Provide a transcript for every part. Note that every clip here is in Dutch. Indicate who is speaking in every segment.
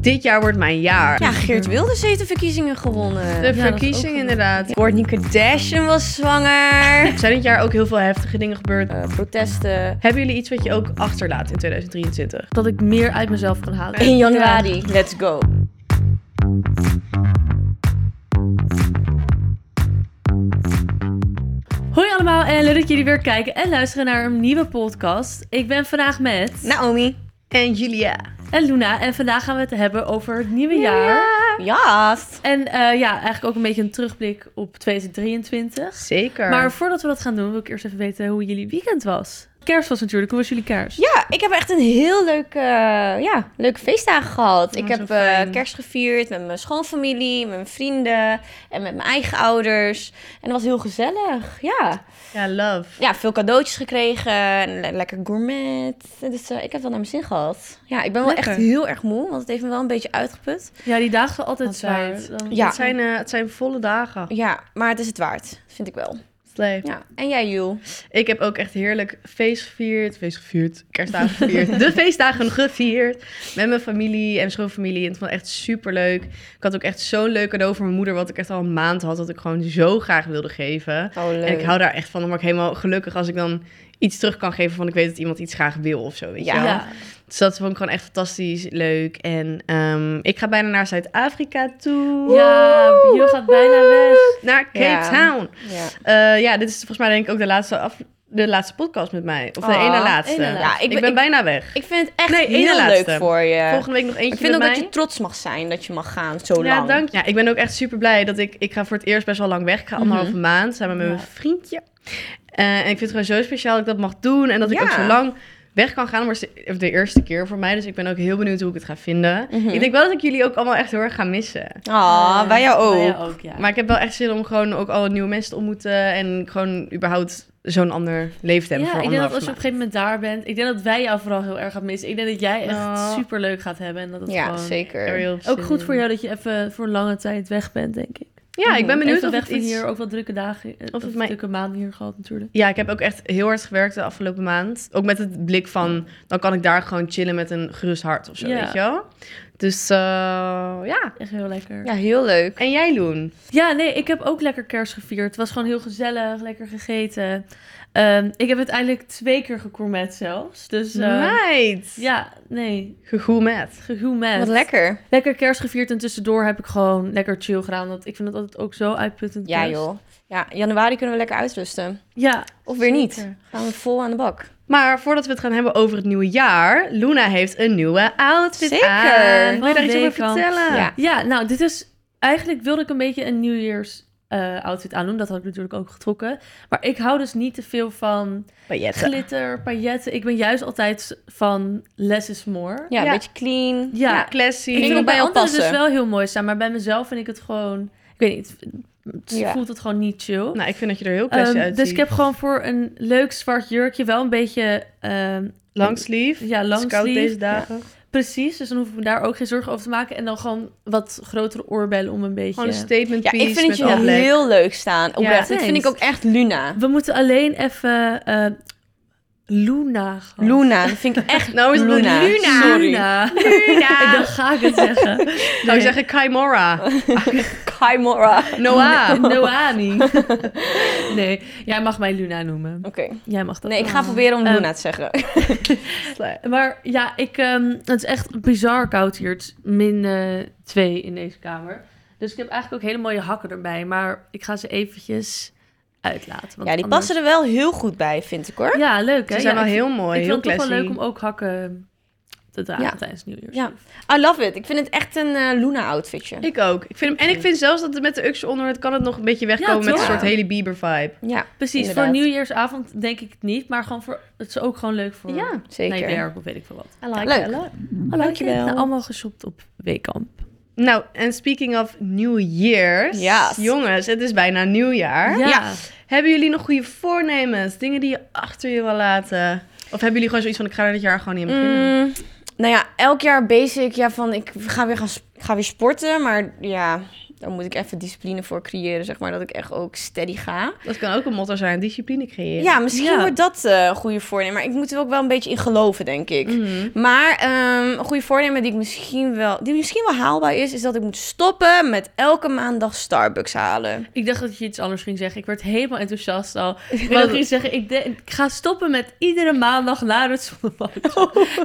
Speaker 1: Dit jaar wordt mijn jaar.
Speaker 2: Ja, Geert Wilders heeft de verkiezingen gewonnen.
Speaker 1: De
Speaker 2: De...
Speaker 3: is ook
Speaker 1: verkiezing
Speaker 3: goed.
Speaker 1: inderdaad.
Speaker 2: Kourtney Kardashian was zwanger.
Speaker 1: Er zijn dit jaar ook heel veel heftige dingen gebeurd.
Speaker 2: Eh, protesten.
Speaker 1: Hebben jullie iets wat je ook achterlaat in 2023?
Speaker 3: Dat ik meer uit mezelf kan halen.
Speaker 2: In januari, let's go.
Speaker 3: Hoi allemaal en leuk dat jullie weer kijken en luisteren naar een nieuwe podcast. Ik ben vandaag met
Speaker 2: Naomi.
Speaker 1: En Julia.
Speaker 3: en Luna en vandaag gaan we het hebben over het nieuwe jaar.
Speaker 2: Ja.
Speaker 3: En eh, ja, eigenlijk ook een beetje een terugblik op 2023.
Speaker 1: Zeker.
Speaker 3: Maar voordat we dat gaan doen, wil ik eerst even weten hoe jullie weekend was. Kerst was natuurlijk. Hoe was jullie kerst?
Speaker 2: Ja, ik heb echt een heel leuk, eh, ja, leuke feestdagen gehad. ik
Speaker 1: Oh, zo
Speaker 2: heb eh,
Speaker 1: fijn.
Speaker 2: kerst gevierd met mijn schoonfamilie, met mijn vrienden en met mijn eigen ouders. En dat was heel gezellig, ja.
Speaker 1: Ja, love.
Speaker 2: Ja, veel cadeautjes gekregen en le- lekker gourmet. Dus eh, ik heb wel naar mijn zin gehad. Ja, ik ben wel echt
Speaker 3: Lekker.
Speaker 2: heel erg moe, want het heeft me wel een beetje uitgeput.
Speaker 3: Ja, die dagen zijn altijd
Speaker 1: Altijd.
Speaker 3: zwaar. Dan-
Speaker 2: Ja.
Speaker 1: Het, zijn, eh, het zijn volle dagen.
Speaker 2: Ja, maar het is het waard, vind ik wel.
Speaker 1: Leuk.
Speaker 2: Ja, en jij Jul?
Speaker 1: Ik heb ook echt heerlijk feest gevierd. Feest gevierd. Kerstdagen gevierd. de feestdagen gevierd. Met mijn familie en mijn schoonfamilie. En het was echt super leuk. Ik had ook echt zo'n leuk cadeau voor mijn moeder. Wat ik echt al een maand had. Dat ik gewoon zo graag wilde geven.
Speaker 2: Oh, leuk.
Speaker 1: En ik hou daar echt van. Dan word ik helemaal gelukkig als ik dan iets terug kan geven. Van ik weet dat iemand iets graag wil of zo. Weet je
Speaker 2: Ja.
Speaker 1: wel?
Speaker 3: Ja.
Speaker 1: Dus dat vond ik gewoon echt fantastisch leuk. En ehm, ik ga bijna naar Zuid-Afrika toe.
Speaker 3: Ja, Jo gaat bijna weg.
Speaker 1: Naar Cape
Speaker 2: Ja.
Speaker 1: Town.
Speaker 2: Ja.
Speaker 1: Eh, ja, dit is volgens mij denk ik ook de laatste, af, de laatste podcast met mij. Of de
Speaker 2: Ah,
Speaker 1: ene laatste.
Speaker 3: ene
Speaker 2: laatste.
Speaker 1: ik, ben bijna weg.
Speaker 2: Ik vind het echt
Speaker 1: Nee, ene
Speaker 2: heel
Speaker 1: laatste.
Speaker 2: leuk voor je.
Speaker 1: Volgende week nog eentje
Speaker 2: ik vind ook
Speaker 1: met
Speaker 2: dat
Speaker 1: mij.
Speaker 2: je trots mag zijn dat je mag gaan zo
Speaker 1: ja,
Speaker 2: lang.
Speaker 1: dank je. Ja, ik ben ook echt super blij dat ik... Ik ga voor het eerst best wel lang weg. Ik ga anderhalve maand samen met
Speaker 3: Mhm. Ja.
Speaker 1: mijn vriendje. Eh, en ik vind het gewoon zo speciaal dat ik dat mag doen. En dat ik
Speaker 2: Ja.
Speaker 1: ook zo lang weg kan gaan. Maar het is de- de eerste keer voor mij. Dus ik ben ook heel benieuwd hoe ik het ga vinden.
Speaker 3: Mhm.
Speaker 1: Ik denk wel dat ik jullie ook allemaal echt heel erg ga missen.
Speaker 2: Ah, bij jou ook.
Speaker 3: Bij jou ook, ja.
Speaker 1: Maar ik heb wel echt zin om gewoon ook alle nieuwe mensen te ontmoeten. En gewoon überhaupt zo'n ander leven te hebben
Speaker 3: Ja,
Speaker 1: voor
Speaker 3: ik denk dat
Speaker 1: anderhalve
Speaker 3: als je op
Speaker 1: maand.
Speaker 3: een gegeven moment daar bent, ik denk dat wij jou vooral heel erg gaan missen. Ik denk dat jij echt
Speaker 1: Nou.
Speaker 3: super leuk gaat hebben en dat het
Speaker 2: ja,
Speaker 3: gewoon...
Speaker 2: zeker.
Speaker 1: Daar heb ik heel veel
Speaker 3: Ook
Speaker 1: zin
Speaker 3: goed
Speaker 1: in.
Speaker 3: voor jou dat je even voor lange tijd weg bent, denk ik.
Speaker 1: Ja, ik ben benieuwd
Speaker 3: Even
Speaker 1: of
Speaker 3: weg
Speaker 1: het
Speaker 3: van
Speaker 1: iets...
Speaker 3: hier, ook wel drukke dagen, eh, of,
Speaker 1: het mij-
Speaker 3: drukke maanden hier gehad natuurlijk.
Speaker 1: Ja, ik heb ook echt heel hard gewerkt de afgelopen maand. Ook met het blik van, dan kan ik daar gewoon chillen met een gerust hart of zo,
Speaker 3: Ja.
Speaker 1: weet je wel? Dus eh, ja.
Speaker 3: Echt heel lekker. Ja.
Speaker 2: Ja, heel leuk.
Speaker 1: En jij, Loen?
Speaker 3: nee, ik heb ook lekker kerst gevierd. Het was gewoon heel gezellig, lekker gegeten. Ehm, ik heb uiteindelijk twee keer gecourmet zelfs. Dus eh,
Speaker 1: Meid!
Speaker 3: ja, nee,
Speaker 1: Gegourmet.
Speaker 3: gegourmet.
Speaker 2: Wat lekker.
Speaker 3: Lekker kerst gevierd en tussendoor heb ik gewoon lekker chill gedaan. Want ik vind het altijd ook zo uitputtend.
Speaker 2: Ja,
Speaker 3: kerst.
Speaker 2: joh. Ja, januari kunnen we lekker uitrusten.
Speaker 3: Ja.
Speaker 2: Of weer niet.
Speaker 3: Zeker.
Speaker 2: Gaan we vol aan de bak.
Speaker 1: Maar voordat we het gaan hebben over het nieuwe jaar, Luna heeft een nieuwe outfit
Speaker 2: Zeker.
Speaker 1: aan. Wil je
Speaker 3: Wat
Speaker 1: daar iets over
Speaker 3: lekker.
Speaker 1: vertellen?
Speaker 2: Ja.
Speaker 3: Ja, nou, dit is... Eigenlijk wilde ik een beetje een nieuwjaars eh, outfit aandoen. Dat had ik natuurlijk ook getrokken. Maar ik hou dus niet te veel van
Speaker 1: Pailletten.
Speaker 3: glitter, pailletten. Ik ben juist altijd van less is more.
Speaker 2: Ja,
Speaker 1: Ja.
Speaker 2: een beetje clean.
Speaker 3: Ja.
Speaker 1: Ja,
Speaker 2: Ik
Speaker 3: Ik
Speaker 1: classy.
Speaker 2: ook
Speaker 3: vind het
Speaker 2: bij
Speaker 3: bij
Speaker 2: jou
Speaker 3: anderen dus
Speaker 2: passen.
Speaker 3: wel heel mooi staan. Maar bij mezelf vind ik het gewoon... Ik weet niet, het
Speaker 2: Ja.
Speaker 3: voelt het gewoon niet chill.
Speaker 1: Nou, ik vind dat je er heel classy
Speaker 3: Ehm,
Speaker 1: uitziet.
Speaker 3: dus ik heb gewoon voor een leuk zwart jurkje wel een beetje... ehm,
Speaker 1: Langsleeve.
Speaker 3: ja,
Speaker 1: Het is koud
Speaker 3: langsleeve.
Speaker 1: deze dagen.
Speaker 3: Precies, dus dan hoef ik me daar ook geen zorgen over te maken. En dan gewoon wat grotere oorbellen om een beetje...
Speaker 1: Gewoon een statement
Speaker 2: Ja,
Speaker 1: piece
Speaker 2: ik vind het
Speaker 1: met
Speaker 2: je
Speaker 1: all black.
Speaker 2: heel leuk staan. Oprecht. Dit vind ik
Speaker 3: Thanks.
Speaker 2: ook echt Luna.
Speaker 3: We moeten alleen even eh, Luna gaan.
Speaker 2: Luna, dat vind ik echt
Speaker 1: Nou is het
Speaker 2: Luna.
Speaker 1: Luna.
Speaker 2: Sorry.
Speaker 3: Luna.
Speaker 1: Luna.
Speaker 3: Dan ga ik het zeggen.
Speaker 1: Zou Nou, ik zeggen Kaimora?
Speaker 2: Chimera. Oké.
Speaker 1: Noah.
Speaker 3: Noani. nee, jij mag mij Luna noemen. Jij mag dat.
Speaker 2: Nee, ik ga proberen om
Speaker 3: Ehm,
Speaker 2: Luna te zeggen.
Speaker 3: Maar ja, ik, ehm, het is echt bizar koud hier. Het is min 2 in deze kamer. Dus ik heb eigenlijk ook hele mooie hakken erbij. Maar ik ga ze eventjes uitlaten. want
Speaker 2: Ja, die
Speaker 3: anders-
Speaker 2: passen er wel heel goed bij, vind ik hoor.
Speaker 3: Ja, leuk hè?
Speaker 1: Ze zijn
Speaker 3: Ja,
Speaker 1: wel
Speaker 3: ik
Speaker 1: heel
Speaker 3: vind-
Speaker 1: mooi,
Speaker 3: Ik
Speaker 1: heel
Speaker 3: vind het toch
Speaker 1: classy.
Speaker 3: wel leuk om ook hakken te dragen
Speaker 2: Ja.
Speaker 3: tijdens Nieuwjaars.
Speaker 2: Ja. I love it. Ik vind het echt een eh, Luna outfitje.
Speaker 1: Ik ook. Ik vind hem, en ik vind zelfs dat het met de UX onder het kan het nog een beetje wegkomen
Speaker 3: Ja,
Speaker 1: met een
Speaker 3: toch?
Speaker 1: soort hele Bieber vibe.
Speaker 2: Ja,
Speaker 3: Precies,
Speaker 2: Inderdaad.
Speaker 3: voor nieuwjaarsavond denk ik het niet, maar gewoon voor, het is ook gewoon leuk voor
Speaker 1: Ja,
Speaker 3: naar je
Speaker 2: zeker.
Speaker 3: werk of weet ik veel wat.
Speaker 1: I like
Speaker 2: Leuk.
Speaker 1: it a lot.
Speaker 2: Dankjewel.
Speaker 3: Nou, allemaal geshopt op Weekamp.
Speaker 1: Nou, en speaking of New Year's.
Speaker 2: Yes.
Speaker 1: Jongens, het is bijna nieuwjaar.
Speaker 3: Ja.
Speaker 2: Ja.
Speaker 1: Hebben jullie nog goede voornemens? Dingen die je achter je wil laten? Of hebben jullie gewoon zoiets van, ik ga er dit jaar gewoon niet aan beginnen?
Speaker 2: Mm, nou ja, elk jaar basic. Ja, van ik ga weer, gaan, sp- ik ga weer sporten. Maar ja, Daar moet ik even discipline voor creëren, zeg maar. Dat ik echt ook steady ga.
Speaker 1: Dat kan ook een motto zijn, discipline creëren.
Speaker 2: Ja, misschien
Speaker 3: Ja.
Speaker 2: wordt dat eh, een goede voornemen. Maar ik moet er ook wel een beetje in geloven, denk ik.
Speaker 1: Mhm.
Speaker 2: Maar ehm, een goede voornemen die ik misschien wel, die misschien wel haalbaar is, is dat ik moet stoppen met elke maandag Starbucks halen.
Speaker 3: Ik dacht dat je iets anders ging zeggen. Ik werd helemaal enthousiast al. Ik wilde nog iets zeggen. Ik, de- ik ga stoppen met iedere maandag naar het zonnebad.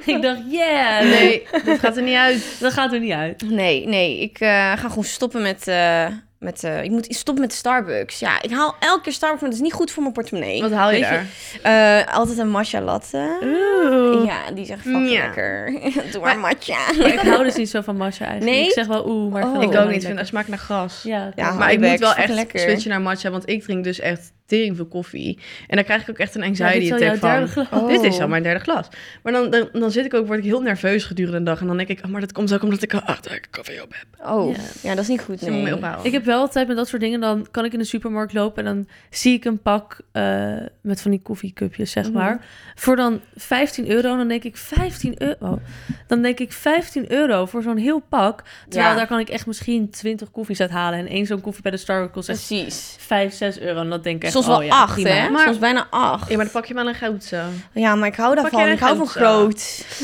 Speaker 3: ik dacht, yeah.
Speaker 1: Nee, dat gaat er niet uit.
Speaker 3: Dat gaat er niet uit.
Speaker 2: Nee, nee, ik eh, ga gewoon stoppen met, eh, met eh, ik moet stoppen met Starbucks. Ja, ik haal elke keer Starbucks, maar dat is niet goed voor mijn portemonnee.
Speaker 1: Wat haal je
Speaker 3: Weet je-
Speaker 1: daar?
Speaker 2: Eh, altijd een matcha latte.
Speaker 1: Oeh.
Speaker 2: Ja, die is echt fucking
Speaker 1: Ja.
Speaker 2: lekker. Doe maar matcha.
Speaker 3: ik hou dus niet zo van matcha eigenlijk.
Speaker 2: Nee?
Speaker 3: Ik zeg wel oeh, maar
Speaker 2: Oh.
Speaker 3: vind
Speaker 1: Ik
Speaker 3: wel
Speaker 1: ook niet. Ik
Speaker 3: lekker.
Speaker 1: vind dat smaakt naar gras.
Speaker 3: Ja,
Speaker 2: Ja,
Speaker 3: klopt.
Speaker 1: Maar ik
Speaker 2: Hardback,
Speaker 1: moet wel
Speaker 2: fucking
Speaker 1: echt
Speaker 2: lekker.
Speaker 1: switchen naar matcha, want ik drink dus echt tering veel koffie. En daar krijg ik ook echt een
Speaker 3: Ja, dit
Speaker 1: anxiety
Speaker 3: is al
Speaker 1: attack
Speaker 3: jouw
Speaker 1: van.
Speaker 3: derde glas.
Speaker 2: Oh.
Speaker 1: Dit is al mijn derde glas. Maar dan, dan, dan zit ik ook, word ik heel nerveus gedurende de dag. En dan denk ik, oh, maar dat komt ook omdat ik al acht uur koffie op heb.
Speaker 2: Oh,
Speaker 3: Ja.
Speaker 2: ja. dat is niet goed.
Speaker 1: Dus ik moet
Speaker 2: Nee.
Speaker 1: mee ophouden.
Speaker 3: Ik heb wel altijd met dat soort dingen, dan kan ik in de supermarkt lopen en dan zie ik een pak eh, met van die koffiecupjes,
Speaker 2: Mhm.
Speaker 3: zeg maar. Voor dan 15 euro, dan denk ik 15 euro. Dan denk ik 15 euro voor zo'n heel pak. Terwijl
Speaker 2: Ja.
Speaker 3: daar kan ik echt misschien 20 koffies uit halen. En één zo'n koffie bij de Starbucks kost echt
Speaker 2: Precies.
Speaker 3: 5, 6 euro. En dat denk ik echt,
Speaker 2: Soms
Speaker 3: oh
Speaker 2: wel
Speaker 3: ja,
Speaker 2: acht,
Speaker 3: prima.
Speaker 2: hè?
Speaker 1: Maar-
Speaker 2: Soms bijna acht.
Speaker 1: Ja, maar dan pak je wel een goudse.
Speaker 2: Ja, maar ik hou
Speaker 1: Pak jij
Speaker 2: daarvan.
Speaker 1: een
Speaker 2: Ik hou van
Speaker 1: grote?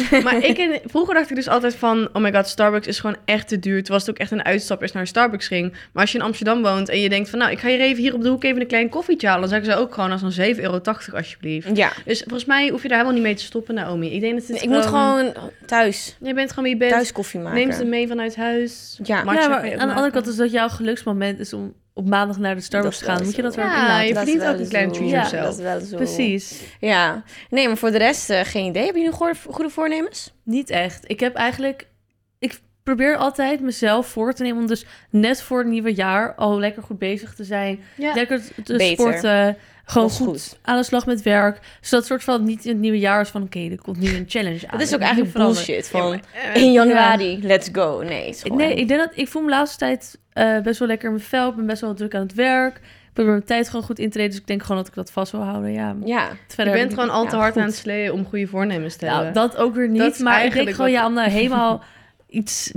Speaker 2: groot.
Speaker 1: Maar ik in- vroeger dacht ik dus altijd van, oh my god, Starbucks is gewoon echt te duur. Toen was het ook echt een uitstap als je naar een Starbucks ging. Maar als je in Amsterdam woont en je denkt van, nou, ik ga hier even hier op de hoek even een klein koffietje halen. Dan zou ik ze ook gewoon als een 7,80 euro alsjeblieft.
Speaker 2: Ja.
Speaker 1: Dus volgens mij hoef je daar helemaal niet mee te stoppen, Naomi. Ik denk dat het
Speaker 2: Ik moet gewoon thuis.
Speaker 1: Je bent gewoon wie je bent.
Speaker 2: Thuis koffie maken.
Speaker 1: Neem ze mee vanuit huis.
Speaker 2: Ja.
Speaker 1: Matcha
Speaker 3: ja,
Speaker 1: kan je
Speaker 3: maar
Speaker 1: ook
Speaker 3: aan de andere
Speaker 1: maken.
Speaker 3: kant is dat jouw geluksmoment is om op maandag naar de Starbucks te
Speaker 2: Dat is wel
Speaker 3: gaan. Moet je dat
Speaker 2: zo.
Speaker 3: wel
Speaker 1: Ja,
Speaker 3: inlaten.
Speaker 1: je
Speaker 2: Dat is
Speaker 1: verdient
Speaker 2: wel
Speaker 1: ook een klein
Speaker 2: zo.
Speaker 1: treat
Speaker 2: ja,
Speaker 1: yourself.
Speaker 2: Dat is wel zo.
Speaker 3: Precies.
Speaker 2: Ja. Nee, maar voor de rest eh, geen idee. Hebben jullie goor- goede voornemens?
Speaker 3: Niet echt. Ik heb eigenlijk. Ik probeer altijd mezelf voor te nemen om dus net voor het nieuwe jaar al lekker goed bezig te zijn.
Speaker 1: Ja.
Speaker 3: Lekker t- te
Speaker 2: Beter.
Speaker 3: sporten. Gewoon
Speaker 2: Dat is
Speaker 3: goed,
Speaker 2: goed.
Speaker 3: aan de slag met werk. Zodat soort van niet in het nieuwe jaar is van oké, er komt nu een challenge aan.
Speaker 2: Dat is ook
Speaker 3: Ik moet
Speaker 2: eigenlijk
Speaker 3: veranderen.
Speaker 2: bullshit.
Speaker 1: Ja,
Speaker 2: Van
Speaker 1: maar, eh,
Speaker 2: in januari, let's go. Nee, het is gewoon-
Speaker 3: Nee, ik denk dat ik voel me de laatste tijd eh, best wel lekker in mijn vel. Ik ben best wel druk aan het werk. Ik probeer mijn tijd gewoon goed in te treden. Dus ik denk gewoon dat ik dat vast wil houden. Ja.
Speaker 2: Ja.
Speaker 1: je
Speaker 3: Verder heb
Speaker 1: bent
Speaker 3: ik-
Speaker 1: gewoon al te
Speaker 2: Ja,
Speaker 1: hard
Speaker 2: goed.
Speaker 1: aan het sleeën om goede voornemens te
Speaker 3: Nou,
Speaker 1: hebben.
Speaker 3: dat ook weer niet.
Speaker 1: Dat is
Speaker 3: maar ik denk
Speaker 1: eigenlijk
Speaker 3: gewoon
Speaker 1: wat-
Speaker 3: ja, om nou helemaal iets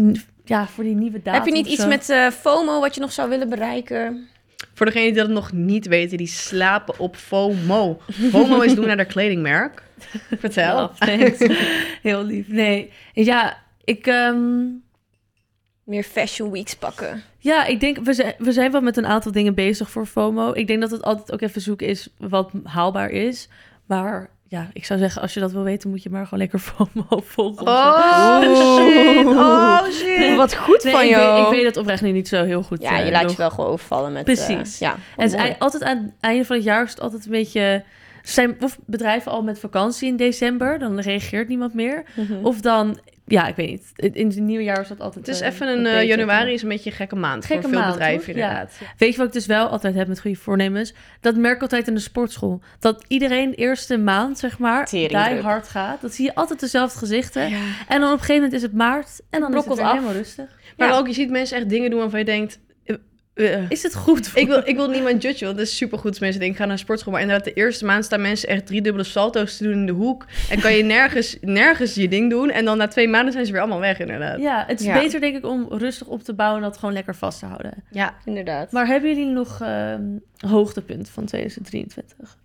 Speaker 3: ja, voor die nieuwe datum
Speaker 2: Heb je niet
Speaker 3: of
Speaker 2: iets
Speaker 3: zo.
Speaker 2: met eh, FOMO wat je nog zou willen bereiken?
Speaker 1: Voor degenen die dat nog niet weten, die slapen op FOMO. FOMO is doen naar haar kledingmerk. Vertel.
Speaker 3: Ja, thanks. Heel lief. Nee, ja, ik, ehm,
Speaker 2: Meer fashion weeks pakken.
Speaker 3: ja, ik denk, we zijn, we zijn wel met een aantal dingen bezig voor FOMO. Ik denk dat het altijd ook even zoeken is wat haalbaar is. Maar ja, ik zou zeggen, als je dat wil weten, moet je maar gewoon lekker FOMO volgen.
Speaker 1: Oh shit, oh shit.
Speaker 2: Wat goed
Speaker 3: Nee,
Speaker 2: van
Speaker 3: ik,
Speaker 2: jou.
Speaker 3: weet, ik weet het oprecht nu niet zo heel goed.
Speaker 2: ja,
Speaker 3: eh,
Speaker 2: je laat
Speaker 3: nog.
Speaker 2: je wel gewoon overvallen met...
Speaker 3: Precies.
Speaker 2: eh, ja,
Speaker 3: En het is
Speaker 2: mooi.
Speaker 3: ei- altijd aan het einde van het jaar is het altijd een beetje... Zijn of bedrijven al met vakantie in december, dan reageert niemand meer.
Speaker 2: Mhm.
Speaker 3: Of dan, ja, ik weet niet. In in het nieuwe jaar is dat altijd...
Speaker 1: Het is
Speaker 3: eh,
Speaker 1: even een,
Speaker 3: wat
Speaker 1: eh,
Speaker 3: beter.
Speaker 1: januari is een beetje een gekke maand
Speaker 3: Gekke
Speaker 1: voor veel
Speaker 3: maand,
Speaker 1: bedrijven
Speaker 3: hoor. Ja.
Speaker 1: inderdaad.
Speaker 3: Weet je wat ik dus wel altijd heb met goede voornemens? Dat merk ik altijd in de sportschool. Dat iedereen de eerste maand, zeg maar,
Speaker 2: Teringdruk.
Speaker 3: die hard gaat. Dat zie je altijd dezelfde gezichten.
Speaker 1: Ja.
Speaker 3: En dan op een gegeven moment is het maart. En dan is
Speaker 2: Brokkelt
Speaker 3: het weer
Speaker 2: af.
Speaker 3: helemaal rustig.
Speaker 1: Maar
Speaker 2: Ja.
Speaker 1: ook, je ziet mensen echt dingen doen waarvan je denkt... eh, eh,
Speaker 3: Is het goed? voor-
Speaker 1: ik, wil, ik wil niemand judgen, want dat is supergoed. als Mensen denken, ik ga naar een sportschool. Maar inderdaad, de eerste maand staan mensen echt drie dubbele salto's te doen in de hoek. En kan je nergens, nergens je ding doen. En dan na twee maanden zijn ze weer allemaal weg, inderdaad.
Speaker 3: Ja, het is
Speaker 2: Ja.
Speaker 3: beter denk ik om rustig op te bouwen en dat gewoon lekker vast te houden.
Speaker 1: Ja.
Speaker 2: Inderdaad.
Speaker 3: Maar hebben jullie nog ehm hoogtepunt van 2023?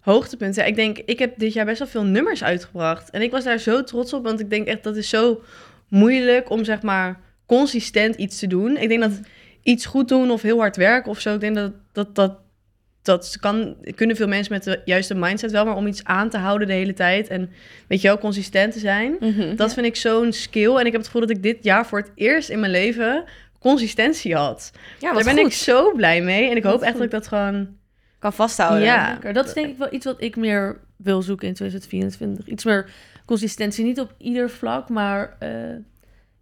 Speaker 1: Hoogtepunten. Ja, ik denk, ik heb dit jaar best wel veel nummers uitgebracht. En ik was daar zo trots op, want ik denk echt, dat is zo moeilijk om zeg maar consistent iets te doen. Ik denk dat iets goed doen of heel hard werken of zo. Ik denk dat dat, dat, dat kan, kunnen veel mensen met de juiste mindset wel, maar om iets aan te houden de hele tijd en weet je wel, consistent te zijn.
Speaker 2: Mhm.
Speaker 1: Dat vind ik zo'n skill. En ik heb het gevoel dat ik dit jaar voor het eerst in mijn leven consistentie had.
Speaker 2: ja,
Speaker 1: Daar
Speaker 2: wat
Speaker 1: ben
Speaker 2: goed.
Speaker 1: ik zo blij mee. En ik
Speaker 3: Wat
Speaker 1: hoop echt
Speaker 3: goed.
Speaker 1: dat ik dat gewoon...
Speaker 2: Kan vasthouden.
Speaker 1: Ja.
Speaker 3: Lekker. Dat is denk ik wel iets wat ik meer wil zoeken in 2024. Iets meer consistentie. Niet op ieder vlak, maar eh,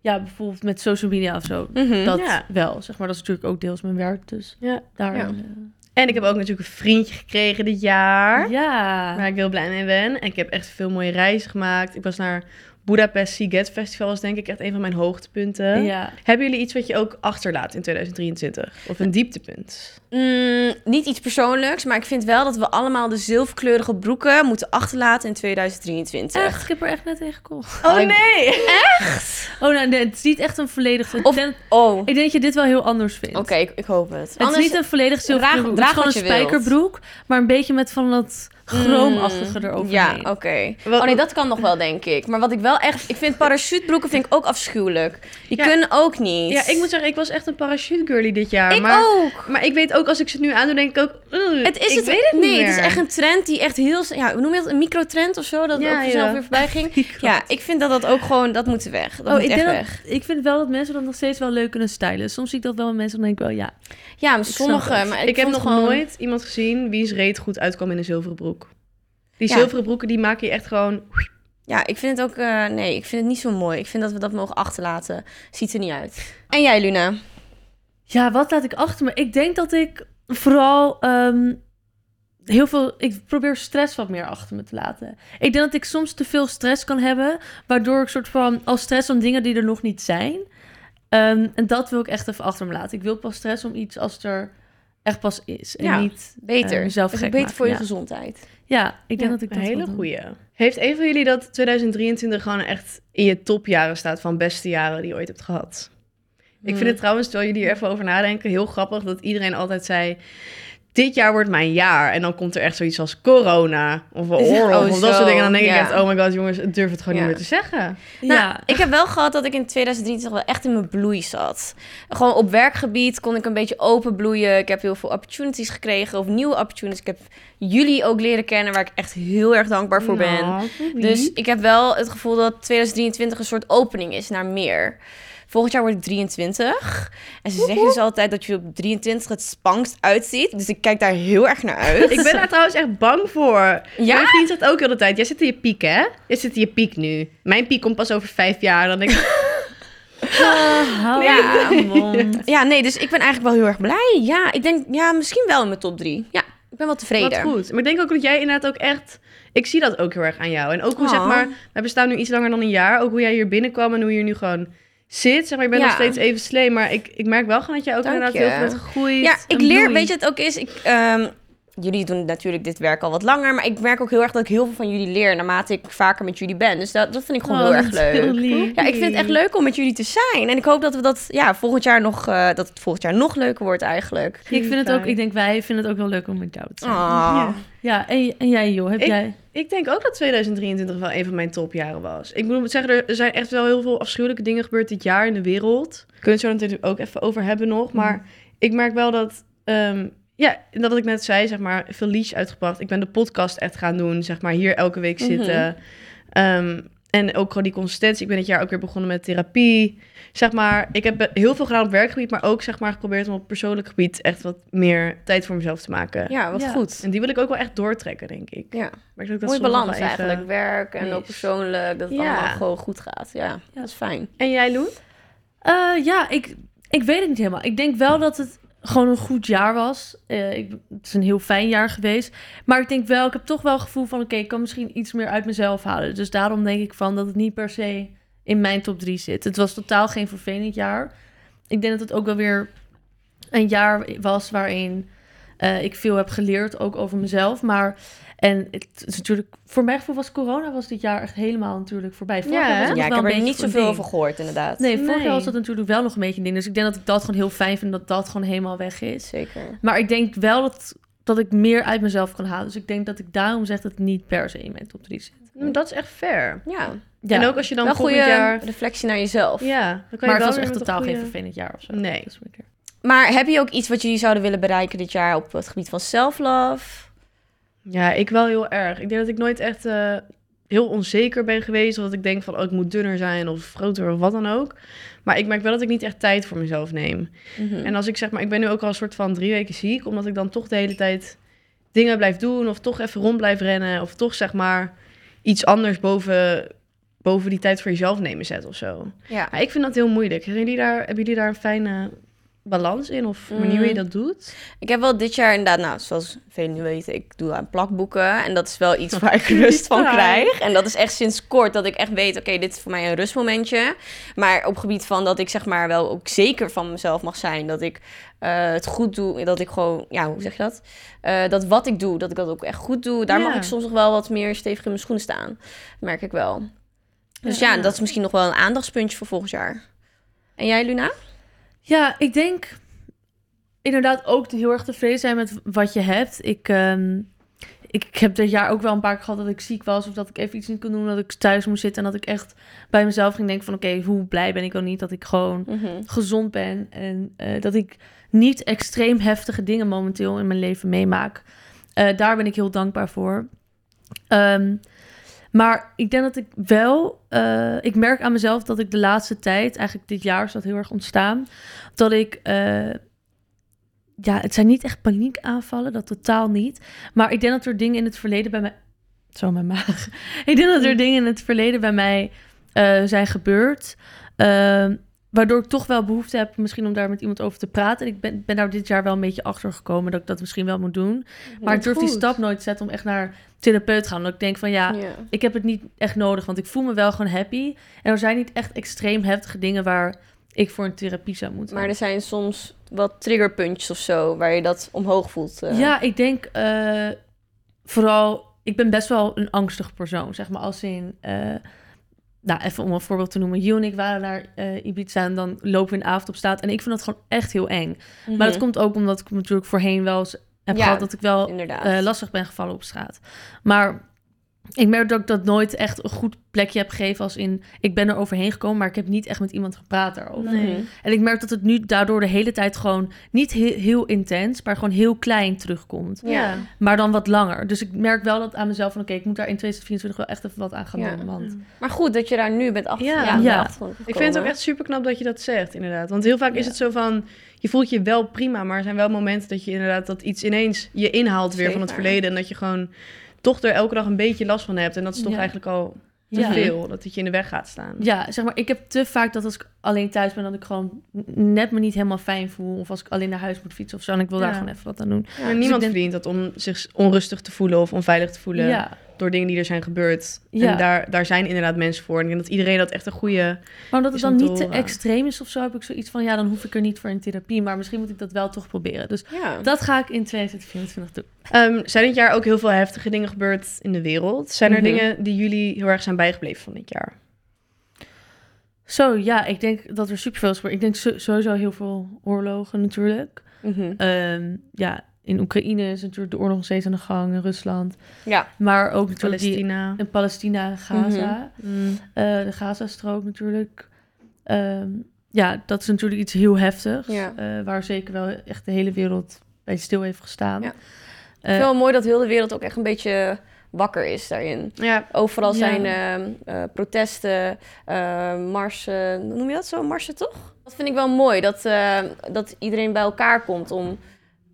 Speaker 3: ja, bijvoorbeeld met social media of zo.
Speaker 2: Mhm.
Speaker 3: Dat
Speaker 1: Ja.
Speaker 3: wel, zeg maar. Dat is natuurlijk ook deels mijn werk, dus
Speaker 1: Ja.
Speaker 3: daar...
Speaker 1: Ja.
Speaker 3: eh,
Speaker 1: En ik heb ook natuurlijk een vriendje gekregen dit jaar.
Speaker 3: Ja.
Speaker 1: Waar ik heel blij mee ben. En ik heb echt veel mooie reizen gemaakt. Ik was naar Budapest Sea Get Festival was denk ik echt een van mijn hoogtepunten.
Speaker 3: Ja.
Speaker 1: Hebben jullie iets wat je ook achterlaat in 2023? Of een dieptepunt?
Speaker 2: Mm, niet iets persoonlijks, maar ik vind wel dat we allemaal de zilverkleurige broeken moeten achterlaten in 2023.
Speaker 3: Echt, ik heb er echt net in gekocht.
Speaker 1: Oh nee!
Speaker 3: Oh, nou, nee, het is niet echt een volledig...
Speaker 2: Of-
Speaker 3: ik, denk,
Speaker 2: Oh, oké,
Speaker 3: ik denk dat je dit wel heel anders vindt.
Speaker 2: ik, ik hoop het.
Speaker 3: Het is niet een volledig zilveren
Speaker 2: draag-
Speaker 3: broek.
Speaker 2: draag
Speaker 3: het is
Speaker 2: wat
Speaker 3: gewoon
Speaker 2: je
Speaker 3: een
Speaker 2: wilt. Mm.
Speaker 3: spijkerbroek, maar een beetje met van dat chroomachtige eroverheen.
Speaker 2: Ja, oké.
Speaker 1: Wat-
Speaker 2: Oh nee, dat kan nog wel, denk ik. Maar wat ik wel echt... Ik vind parachutebroeken vind ik ook afschuwelijk. Die
Speaker 1: Ja.
Speaker 2: kunnen ook niet.
Speaker 1: Ja, ik moet zeggen, ik was echt een parachute girlie dit jaar.
Speaker 2: Ik
Speaker 1: maar,
Speaker 2: ook.
Speaker 1: maar ik weet ook, als ik ze nu aandoe, denk ik ook... "Ugh,
Speaker 2: Het is
Speaker 1: ik
Speaker 2: het,
Speaker 1: weet het niet
Speaker 2: nee, het
Speaker 1: meer."
Speaker 2: is echt een trend die echt heel... s- Ja, hoe noem je dat? Een microtrend of zo? Dat
Speaker 1: Ja,
Speaker 2: ook vanzelf
Speaker 1: ja.
Speaker 2: weer voorbij ging. Ja, ik vind dat dat ook gewoon... Dat moet weg.
Speaker 1: Oh,
Speaker 2: Dat moet
Speaker 3: Oh, ik,
Speaker 2: echt
Speaker 3: denk
Speaker 2: weg.
Speaker 3: dat, ik vind wel dat mensen dat nog steeds wel leuk kunnen stylen. Soms zie ik dat wel met mensen en denk ik wel, ja.
Speaker 2: Ja, maar
Speaker 3: snap
Speaker 2: sommige...
Speaker 3: het.
Speaker 2: Maar
Speaker 1: Ik,
Speaker 2: ik,
Speaker 1: heb
Speaker 2: vond
Speaker 1: nog
Speaker 2: gewoon-
Speaker 1: nooit iemand gezien wiens reet goed uitkwam in een zilveren broek. Die
Speaker 2: Ja.
Speaker 1: zilveren broeken, die maken je echt gewoon...
Speaker 2: Ja, ik vind het ook... eh, nee, ik vind het niet zo mooi. Ik vind dat we dat mogen achterlaten. Ziet er niet uit. En jij,
Speaker 3: Eh,
Speaker 2: Luna?
Speaker 3: Ja, wat laat ik achter me? Ik denk dat ik vooral ehm, heel veel... Ik probeer stress wat meer achter me te laten. Ik denk dat ik soms te veel stress kan hebben... waardoor ik soort van al stress om dingen die er nog niet zijn. Ehm, en dat wil ik echt even achter me laten. Ik wil pas stress om iets als het er echt pas is. En
Speaker 2: Ja,
Speaker 3: niet...
Speaker 2: Beter.
Speaker 3: Eh, jezelf
Speaker 2: Het is
Speaker 3: gek
Speaker 2: beter
Speaker 3: maken,
Speaker 2: voor je
Speaker 3: ja.
Speaker 2: gezondheid.
Speaker 3: Ja, ik denk dat ik
Speaker 1: een
Speaker 3: dat
Speaker 1: hele
Speaker 3: wel doe.
Speaker 1: goeie. Heeft een van jullie dat 2023 gewoon echt in je topjaren staat van beste jaren die je ooit hebt gehad? Ik
Speaker 2: Hmm.
Speaker 1: vind het trouwens, terwijl jullie hier even over nadenken, heel grappig dat iedereen altijd zei... Dit jaar wordt mijn jaar. En dan komt er echt zoiets als corona of een
Speaker 2: Is het-
Speaker 1: oorlog
Speaker 2: oh,
Speaker 1: of dat
Speaker 2: zo,
Speaker 1: soort dingen. Dan denk
Speaker 2: ja.
Speaker 1: ik echt, oh my god jongens, ik durf het gewoon
Speaker 2: Ja.
Speaker 1: niet meer te zeggen.
Speaker 2: Nou, ik heb wel gehad dat ik in 2023 wel echt in mijn bloei zat. Gewoon op werkgebied kon ik een beetje open bloeien. Ik heb heel veel opportunities gekregen of nieuwe opportunities. Ik heb jullie ook leren kennen waar ik echt heel erg dankbaar voor ben.
Speaker 1: Nou, sorry.
Speaker 2: Dus ik heb wel het gevoel dat 2023 een soort opening is naar meer. Volgend jaar word ik 23. En ze zeggen dus altijd dat je op 23 het spangst uitziet. Dus ik kijk daar heel erg naar uit.
Speaker 1: Ik ben daar trouwens echt bang voor.
Speaker 2: Ja?
Speaker 1: Mijn vriend zegt ook heel de tijd, jij zit in je piek, hè? Jij zit in je piek nu. Mijn piek komt pas over vijf jaar. Dan denk ik,
Speaker 3: Ah, hou
Speaker 2: Ja.
Speaker 3: je mond.
Speaker 2: Ja, nee, dus ik ben eigenlijk wel heel erg blij. Ja, ik denk, ja, misschien wel in mijn top drie. Ja, ik ben wel
Speaker 1: wat
Speaker 2: tevreden.
Speaker 1: goed. Maar ik denk ook dat jij inderdaad ook echt... Ik zie dat ook heel erg aan jou. En ook hoe,
Speaker 2: Oh.
Speaker 1: zeg maar, we bestaan nu iets langer dan een jaar. Ook hoe jij hier binnenkwam en hoe je hier nu gewoon zit. Zeg maar, je bent
Speaker 2: Ja.
Speaker 1: nog steeds even slim. Maar ik, ik merk wel gewoon dat jij ook
Speaker 2: Dank
Speaker 1: inderdaad
Speaker 2: je.
Speaker 1: heel veel bent gegroeid.
Speaker 2: Ja, ik
Speaker 1: en
Speaker 2: leer,
Speaker 1: bloeit.
Speaker 2: weet je het ook is? Ik, ehm, jullie doen natuurlijk dit werk al wat langer, maar ik merk ook heel erg dat ik heel veel van jullie leer naarmate ik vaker met jullie ben. Dus dat, dat vind ik gewoon
Speaker 3: Oh,
Speaker 2: heel
Speaker 3: dat
Speaker 2: erg
Speaker 3: is heel
Speaker 2: leuk.
Speaker 3: lief.
Speaker 2: Ja, ik vind het echt leuk om met jullie te zijn. En ik hoop dat we dat ja, volgend jaar nog, eh, dat het volgend jaar nog leuker wordt eigenlijk.
Speaker 3: Ik vind het ook, ik denk wij vinden het ook wel leuk om met jou te zijn.
Speaker 2: Ah.
Speaker 3: Ja, en, en jij joh, heb
Speaker 1: Ik-
Speaker 3: jij...
Speaker 1: Ik denk ook dat 2023 wel een van mijn topjaren was. Ik moet zeggen, er zijn echt wel heel veel afschuwelijke dingen gebeurd dit jaar in de wereld. Kunnen we het zo natuurlijk ook even over hebben
Speaker 2: Mhm.
Speaker 1: nog. Maar ik merk wel dat, ehm, ja, dat wat ik net zei, zeg maar, veel liedjes uitgebracht. Ik ben de podcast echt gaan doen, zeg maar, hier elke week
Speaker 2: Mhm.
Speaker 1: zitten. Ehm, en ook gewoon die consistentie. Ik ben dit jaar ook weer begonnen met therapie. Zeg maar, ik heb heel veel gedaan op werkgebied, maar ook zeg maar geprobeerd om op persoonlijk gebied echt wat meer tijd voor mezelf te maken.
Speaker 2: Ja, wat
Speaker 3: Ja.
Speaker 2: goed.
Speaker 1: En die wil ik ook wel echt doortrekken, denk ik.
Speaker 2: Ja.
Speaker 1: Maar ik denk dat
Speaker 2: Mooi
Speaker 1: soms nog wel
Speaker 2: balans
Speaker 1: even-
Speaker 2: eigenlijk. Werk en
Speaker 1: Nice.
Speaker 2: ook persoonlijk. Dat het
Speaker 1: Ja.
Speaker 2: allemaal gewoon goed gaat. Ja, dat is fijn.
Speaker 1: En jij, Loen?
Speaker 3: Eh, ja, ik, ik weet het niet helemaal. Ik denk wel dat het gewoon een goed jaar was. Eh, ik, het is een heel fijn jaar geweest. Maar ik denk wel, ik heb toch wel het gevoel van... oké, ik kan misschien iets meer uit mezelf halen. Dus daarom denk ik van dat het niet per se in mijn top 3 zit. Het was totaal geen vervelend jaar. Ik denk dat het ook wel weer een jaar was waarin eh, ik veel heb geleerd, ook over mezelf. Maar en het is natuurlijk, voor mijn gevoel was corona was dit jaar echt helemaal natuurlijk voorbij. Vorig
Speaker 1: Ja,
Speaker 3: jaar was
Speaker 1: hè?
Speaker 3: het nog
Speaker 2: Ja, ik
Speaker 3: wel
Speaker 2: heb
Speaker 3: een
Speaker 2: er niet
Speaker 3: beetje een
Speaker 2: zoveel
Speaker 3: ding.
Speaker 2: over gehoord inderdaad.
Speaker 3: Nee, vorig
Speaker 1: Nee.
Speaker 3: jaar was dat natuurlijk wel nog een beetje een ding. Dus ik denk dat ik dat gewoon heel fijn vind dat dat gewoon helemaal weg is.
Speaker 2: Zeker.
Speaker 3: Maar ik denk wel dat, dat ik meer uit mezelf kan halen. Dus ik denk dat ik daarom zeg dat het niet per se in mijn top 3 zit.
Speaker 1: Nou, dat is echt fair.
Speaker 2: Ja,
Speaker 3: Ja,
Speaker 1: En ook als je dan
Speaker 2: wel
Speaker 1: volgend
Speaker 2: goede
Speaker 1: jaar...
Speaker 2: reflectie naar jezelf.
Speaker 1: Ja, dan kan
Speaker 3: maar
Speaker 1: je
Speaker 3: het
Speaker 1: wel
Speaker 3: was
Speaker 1: weer
Speaker 3: echt
Speaker 1: met een
Speaker 3: totaal geen
Speaker 1: goede-
Speaker 3: vervelend jaar of zo.
Speaker 1: Nee.
Speaker 3: Dat is moeilijk.
Speaker 2: Maar heb je ook iets wat jullie zouden willen bereiken dit jaar op het gebied van self-love?
Speaker 1: Ja, ik wel heel erg. Ik denk dat ik nooit echt eh, heel onzeker ben geweest. Of dat ik denk van, oh, ik moet dunner zijn of groter of wat dan ook. Maar ik merk wel dat ik niet echt tijd voor mezelf neem. En als ik zeg maar, ik ben nu ook al een soort van drie weken ziek, omdat ik dan toch de hele tijd dingen blijf doen, of toch even rond blijf rennen, of toch zeg maar iets anders boven, boven die tijd voor jezelf nemen zet of zo.
Speaker 2: Ja.
Speaker 1: Maar ik vind dat heel moeilijk. Hebben jullie daar, hebben jullie daar een fijne balans in of
Speaker 2: Mm.
Speaker 1: manier hoe je dat doet.
Speaker 2: Ik heb wel dit jaar inderdaad, nou, zoals velen nu weten, ik doe aan plakboeken. En dat is wel iets waar ik rust van krijg. En dat is echt sinds kort dat ik echt weet, oké, dit is voor mij een rustmomentje. Maar op gebied van dat ik zeg maar wel ook zeker van mezelf mag zijn. Dat ik eh, het goed doe, dat ik gewoon, ja, hoe zeg je dat? Eh, dat wat ik doe, dat ik dat ook echt goed doe. Daar mag
Speaker 1: Ja.
Speaker 2: ik soms nog wel wat meer stevig in mijn schoenen staan. Dat merk ik wel. Dus ja,
Speaker 3: Ja.
Speaker 2: dat is misschien nog wel een aandachtspuntje voor volgend jaar. En jij, Luna?
Speaker 3: Ja, ik denk inderdaad ook te- heel erg tevreden zijn met wat je hebt. Ik, ehm, ik, ik heb dit jaar ook wel een paar keer gehad dat ik ziek was of dat ik even iets niet kon doen, dat ik thuis moest zitten en dat ik echt bij mezelf ging denken van oké, hoe blij ben ik wel niet dat ik gewoon
Speaker 2: Mhm.
Speaker 3: gezond ben en eh, dat ik niet extreem heftige dingen momenteel in mijn leven meemaak. Eh, daar ben ik heel dankbaar voor. Ehm, maar ik denk dat ik wel, eh, ik merk aan mezelf dat ik de laatste tijd, eigenlijk dit jaar is dat heel erg ontstaan, dat ik, eh, ja, het zijn niet echt paniekaanvallen, dat totaal niet. Maar ik denk dat er dingen in het verleden bij mij, zo mijn maag. Ik denk dat er dingen in het verleden bij mij eh, zijn gebeurd. Ehm, waardoor ik toch wel behoefte heb misschien om daar met iemand over te praten. En ik ben, ben daar dit jaar wel een beetje achter gekomen dat ik dat misschien wel moet doen. Maar ik durf die stap nooit te zetten om echt naar therapeut te gaan. Omdat ik denk van ja,
Speaker 2: Ja.
Speaker 3: ik heb het niet echt nodig, want ik voel me wel gewoon happy. En er zijn niet echt extreem heftige dingen waar ik voor een therapie zou moeten.
Speaker 2: Maar dus, er zijn soms wat triggerpuntjes of zo waar je dat omhoog voelt. eh.
Speaker 3: Ja, ik denk eh, vooral, ik ben best wel een angstig persoon, zeg maar. Als in, eh, nou even om een voorbeeld te noemen, June en ik waren naar eh, Ibiza en dan lopen we in de avond op straat. En ik vind dat gewoon echt heel eng. Maar dat
Speaker 2: Mhm.
Speaker 3: komt ook omdat ik natuurlijk voorheen wel eens heb
Speaker 2: Ja,
Speaker 3: gehad dat ik wel
Speaker 2: inderdaad.
Speaker 3: eh, lastig ben gevallen op straat. Maar ik merk dat ik dat nooit echt een goed plekje heb gegeven als in... ik ben er overheen gekomen, maar ik heb niet echt met iemand gepraat daarover.
Speaker 2: Mhm.
Speaker 1: Nee.
Speaker 3: En ik merk dat het nu daardoor de hele tijd gewoon niet he- heel intens... maar gewoon heel klein terugkomt.
Speaker 2: Ja.
Speaker 3: Maar dan wat langer. Dus ik merk wel dat aan mezelf van... oké, ik moet daar in 2024 wel echt even wat aan gaan
Speaker 2: Ja.
Speaker 3: doen. Want
Speaker 2: Maar goed dat je daar nu bent achter.
Speaker 1: Ja.
Speaker 2: Ja,
Speaker 3: Ja.
Speaker 2: achter bent
Speaker 1: Ik vind het ook
Speaker 2: gekomen.
Speaker 1: echt super knap dat je dat zegt, inderdaad. Want heel vaak is
Speaker 3: Ja.
Speaker 1: het zo van, je voelt je wel prima, maar er zijn wel momenten dat je inderdaad dat iets ineens je inhaalt weer van het
Speaker 2: Zeker.
Speaker 1: verleden. En dat je gewoon toch er elke dag een beetje last van hebt. En dat is toch
Speaker 3: Ja.
Speaker 1: eigenlijk al te
Speaker 3: Ja.
Speaker 1: veel, dat het je in de weg gaat staan.
Speaker 3: Ja, zeg maar, ik heb te vaak dat als ik alleen thuis ben, dat ik gewoon net me niet helemaal fijn voel. Of als ik alleen naar huis moet fietsen of zo. En ik wil daar
Speaker 1: Ja.
Speaker 3: gewoon even wat aan doen.
Speaker 1: Maar niemand
Speaker 3: denk-
Speaker 1: verdient dat om zich onrustig te voelen of onveilig te voelen
Speaker 3: Dus Ja,
Speaker 1: door dingen die er zijn gebeurd.
Speaker 3: Ja.
Speaker 1: En daar, daar zijn inderdaad mensen voor. En ik denk dat iedereen dat echt een goede...
Speaker 3: maar omdat het
Speaker 1: Is
Speaker 3: dan
Speaker 1: om te
Speaker 3: niet te
Speaker 1: horen.
Speaker 3: extreem is of zo, heb ik zoiets van, ja, dan hoef ik er niet voor in therapie. Maar misschien moet ik dat wel toch proberen. Dus
Speaker 2: Ja.
Speaker 3: dat ga ik in 2024 doen.
Speaker 1: Ehm, zijn dit jaar ook heel veel heftige dingen gebeurd in de wereld? Zijn er
Speaker 2: Mhm.
Speaker 1: dingen die jullie heel erg zijn bijgebleven van dit jaar?
Speaker 3: Zo, ja, ik denk dat er superveel is gebeurd. Ik denk zo- sowieso heel veel oorlogen natuurlijk.
Speaker 2: Mhm.
Speaker 3: Ehm, ja, in Oekraïne is natuurlijk de oorlog nog steeds aan de gang, in Rusland.
Speaker 2: Ja.
Speaker 3: Maar ook natuurlijk die,
Speaker 1: Palestina.
Speaker 3: in Palestina, Gaza.
Speaker 1: Mm.
Speaker 3: Eh, de Gazastrook natuurlijk. Ehm, ja, dat is natuurlijk iets heel heftigs.
Speaker 2: Ja.
Speaker 3: eh, waar zeker wel echt de hele wereld bij stil heeft gestaan.
Speaker 2: Ja. Ik
Speaker 3: Eh,
Speaker 2: vind het wel mooi dat heel de wereld ook echt een beetje wakker is daarin.
Speaker 1: Ja,
Speaker 2: Overal
Speaker 3: Ja.
Speaker 2: zijn ehm, eh, protesten, eh, marsen, noem je dat zo? Marsen toch? Dat vind ik wel mooi, dat, eh, dat iedereen bij elkaar komt om,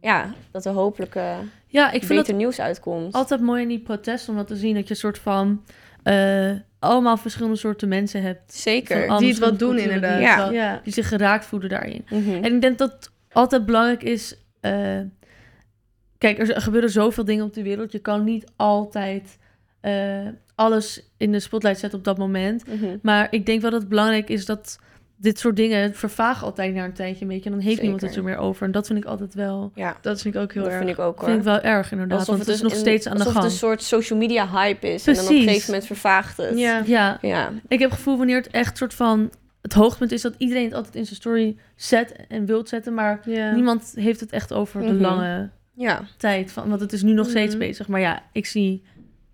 Speaker 2: ja, dat er hopelijk eh,
Speaker 3: ja, ik vind
Speaker 2: beter
Speaker 3: het
Speaker 2: nieuws uitkomt.
Speaker 3: altijd mooi in die protesten om dat te zien. Dat je een soort van eh, allemaal verschillende soorten mensen hebt.
Speaker 2: Zeker.
Speaker 3: Van
Speaker 1: die het
Speaker 3: andere
Speaker 1: wat doen
Speaker 3: culturen die
Speaker 1: inderdaad.
Speaker 3: het
Speaker 2: Ja.
Speaker 3: wel-
Speaker 1: ja.
Speaker 3: Die zich geraakt voelen daarin.
Speaker 2: Mhm.
Speaker 3: En ik denk dat het altijd belangrijk is. eh, kijk, er z- gebeuren zoveel dingen op de wereld. Je kan niet altijd eh, alles in de spotlight zetten op dat moment.
Speaker 2: Mhm.
Speaker 3: Maar ik denk wel dat het belangrijk is dat dit soort dingen vervagen altijd na een tijdje een beetje. En dan heeft niemand het er
Speaker 2: Zeker.
Speaker 3: meer over. En dat vind ik altijd wel,
Speaker 2: Ja,
Speaker 1: Dat vind ik ook heel
Speaker 2: dat
Speaker 1: erg.
Speaker 2: vind ik ook hoor.
Speaker 3: vind ik wel erg inderdaad. want het is nog
Speaker 2: een-
Speaker 3: steeds aan de
Speaker 2: alsof
Speaker 3: gang.
Speaker 2: het een soort social media hype is. En dan op
Speaker 3: Precies.
Speaker 2: een gegeven moment vervaagt het.
Speaker 1: Ja.
Speaker 3: Ja,
Speaker 2: Ja.
Speaker 3: ik heb het gevoel wanneer het echt soort van het hoogtepunt is dat iedereen het altijd in zijn story zet en wilt zetten. Maar
Speaker 1: Ja.
Speaker 3: niemand heeft het echt over de
Speaker 2: Mhm.
Speaker 3: lange
Speaker 2: Ja.
Speaker 3: tijd. Van, want het is nu nog steeds
Speaker 1: Mhm.
Speaker 3: bezig. Maar ja, ik zie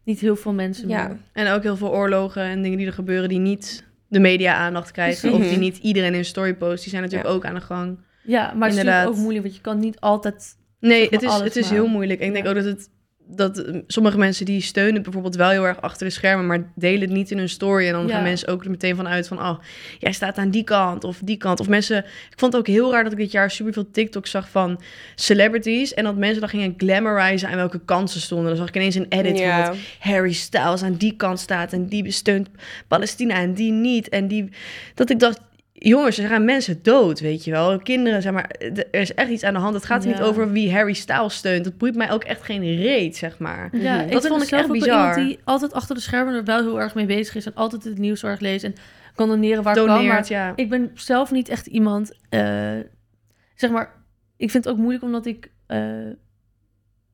Speaker 3: niet heel veel mensen
Speaker 2: Ja.
Speaker 3: meer.
Speaker 1: En ook heel veel oorlogen en dingen die er gebeuren die niet de media aandacht krijgen.
Speaker 2: Precies.
Speaker 1: Of die niet iedereen in een story post. Die zijn natuurlijk
Speaker 2: Mhm. Ja.
Speaker 1: ook aan de gang.
Speaker 3: Ja, maar het is natuurlijk
Speaker 1: Inderdaad.
Speaker 3: ook moeilijk, want je kan niet altijd...
Speaker 1: Nee,
Speaker 3: Zeg maar
Speaker 1: het is,
Speaker 3: alles
Speaker 1: het is
Speaker 3: maar.
Speaker 1: heel moeilijk. En ik denk
Speaker 3: Ja.
Speaker 1: ook dat het dat eh, sommige mensen die steunen het bijvoorbeeld wel heel erg achter de schermen, maar delen het niet in hun story. En dan
Speaker 3: Ja.
Speaker 1: gaan mensen ook er meteen van uit van, oh, jij staat aan die kant of die kant. Of mensen, ik vond het ook heel raar dat ik dit jaar superveel TikTok zag van celebrities. En dat mensen dan gingen glamorizen aan welke kant ze stonden. Dan zag ik ineens een edit van
Speaker 2: Ja.
Speaker 1: dat Harry Styles aan die kant staat en die steunt Palestina en die niet. En die, dat ik dacht, jongens, er gaan mensen dood, weet je wel. Kinderen, zeg maar, d- er is echt iets aan de hand. Het gaat er
Speaker 2: Ja.
Speaker 1: niet over wie Harry Styles steunt. Dat boeit mij ook echt geen reet, zeg maar.
Speaker 3: Ja,
Speaker 2: Mhm.
Speaker 3: ik
Speaker 1: Dat
Speaker 3: ben
Speaker 1: vond
Speaker 3: dus
Speaker 1: ik echt
Speaker 3: zelf ook wel
Speaker 1: bizar.
Speaker 3: Iemand die altijd achter de schermen er wel heel erg mee bezig is en altijd het nieuws heel erg leest en kan doneren waar kan. Maar
Speaker 1: Doneert, ja.
Speaker 3: ik ben zelf niet echt iemand, eh, zeg maar, ik vind het ook moeilijk omdat ik eh,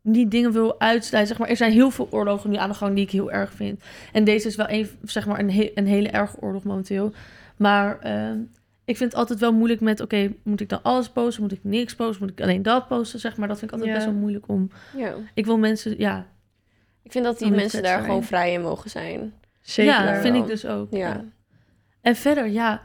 Speaker 3: niet dingen wil uitsluiten. Zeg maar, er zijn heel veel oorlogen nu aan de gang die ik heel erg vind. En deze is wel een, zeg maar, een, he- een hele erge oorlog momenteel. Maar eh, ik vind het altijd wel moeilijk met, oké, moet ik dan alles posten? Moet ik niks posten? Moet ik alleen dat posten? Zeg maar, dat vind ik altijd
Speaker 1: Ja.
Speaker 3: best wel moeilijk om.
Speaker 2: Ja.
Speaker 3: Ik wil mensen, ja,
Speaker 2: Ik vind dat die
Speaker 3: Dan moet
Speaker 2: mensen
Speaker 3: het
Speaker 2: daar
Speaker 3: zijn.
Speaker 2: gewoon vrij in mogen zijn.
Speaker 1: Zeker.
Speaker 3: Ja,
Speaker 2: wel.
Speaker 3: vind ik dus ook.
Speaker 2: Ja.
Speaker 3: ja. En verder, ja,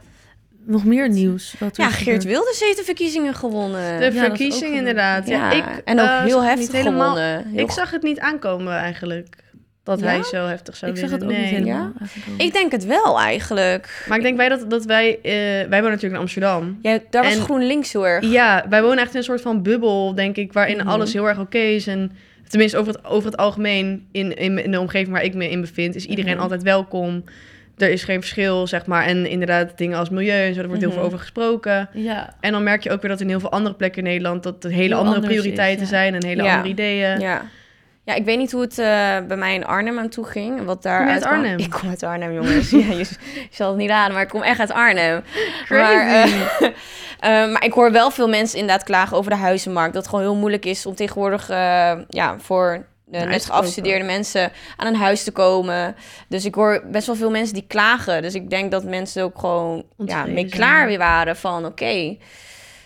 Speaker 3: nog meer nieuws. Wat er
Speaker 2: Ja, Geert
Speaker 3: gebeurt.
Speaker 2: Wilders heeft de verkiezingen gewonnen.
Speaker 1: De
Speaker 3: dat is ook
Speaker 1: verkiezing
Speaker 3: gebeurd.
Speaker 1: inderdaad. Ja, ik,
Speaker 2: en ook
Speaker 1: eh, zag
Speaker 2: heel
Speaker 1: het
Speaker 2: heftig
Speaker 1: niet helemaal-
Speaker 2: gewonnen. Heel
Speaker 1: Ik zag het niet aankomen eigenlijk. Dat
Speaker 2: Ja?
Speaker 1: hij zo heftig zou
Speaker 3: Ik zag
Speaker 1: winnen.
Speaker 3: het ook niet
Speaker 1: Nee.
Speaker 3: helemaal.
Speaker 2: Ja?
Speaker 3: eigenlijk ook.
Speaker 2: Ik denk het wel eigenlijk.
Speaker 1: Maar ik denk wij dat, dat wij... eh, wij wonen natuurlijk in Amsterdam.
Speaker 2: Ja, daar was
Speaker 1: En-
Speaker 2: GroenLinks heel erg.
Speaker 1: Ja, wij wonen echt in een soort van bubbel, denk ik, waarin
Speaker 2: Mhm.
Speaker 1: alles heel erg oké is. En tenminste, over het, over het algemeen, in, in, in de omgeving waar ik me in bevind, is iedereen
Speaker 2: Mhm.
Speaker 1: altijd welkom. Er is geen verschil, zeg maar. En inderdaad, dingen als milieu en zo, daar wordt
Speaker 2: Mhm.
Speaker 1: heel veel over gesproken.
Speaker 3: ja.
Speaker 1: En dan merk je ook weer dat in heel veel andere plekken in Nederland dat er hele
Speaker 3: Heel
Speaker 1: andere
Speaker 3: anders is,
Speaker 1: prioriteiten
Speaker 3: ja.
Speaker 1: zijn en hele
Speaker 2: Ja.
Speaker 1: andere ideeën.
Speaker 2: Ja. Ja, ik weet niet hoe het eh, bij mij in Arnhem aan toe ging. en Wat daar
Speaker 1: Kom je uit
Speaker 2: uitkwam.
Speaker 1: Arnhem?
Speaker 2: Ik kom uit Arnhem, jongens. ja, je, je zal het niet raden, maar ik kom echt uit Arnhem. Maar, eh, eh, maar ik hoor wel veel mensen inderdaad klagen over de huizenmarkt. Dat het gewoon heel moeilijk is om tegenwoordig eh, ja, voor de
Speaker 1: Een huis
Speaker 2: net
Speaker 1: te kopen.
Speaker 2: geafstudeerde mensen aan een huis te komen. Dus ik hoor best wel veel mensen die klagen. Dus ik denk dat mensen ook gewoon ja,
Speaker 3: Ontevreden
Speaker 2: mee
Speaker 3: zijn.
Speaker 2: klaar weer waren van oké,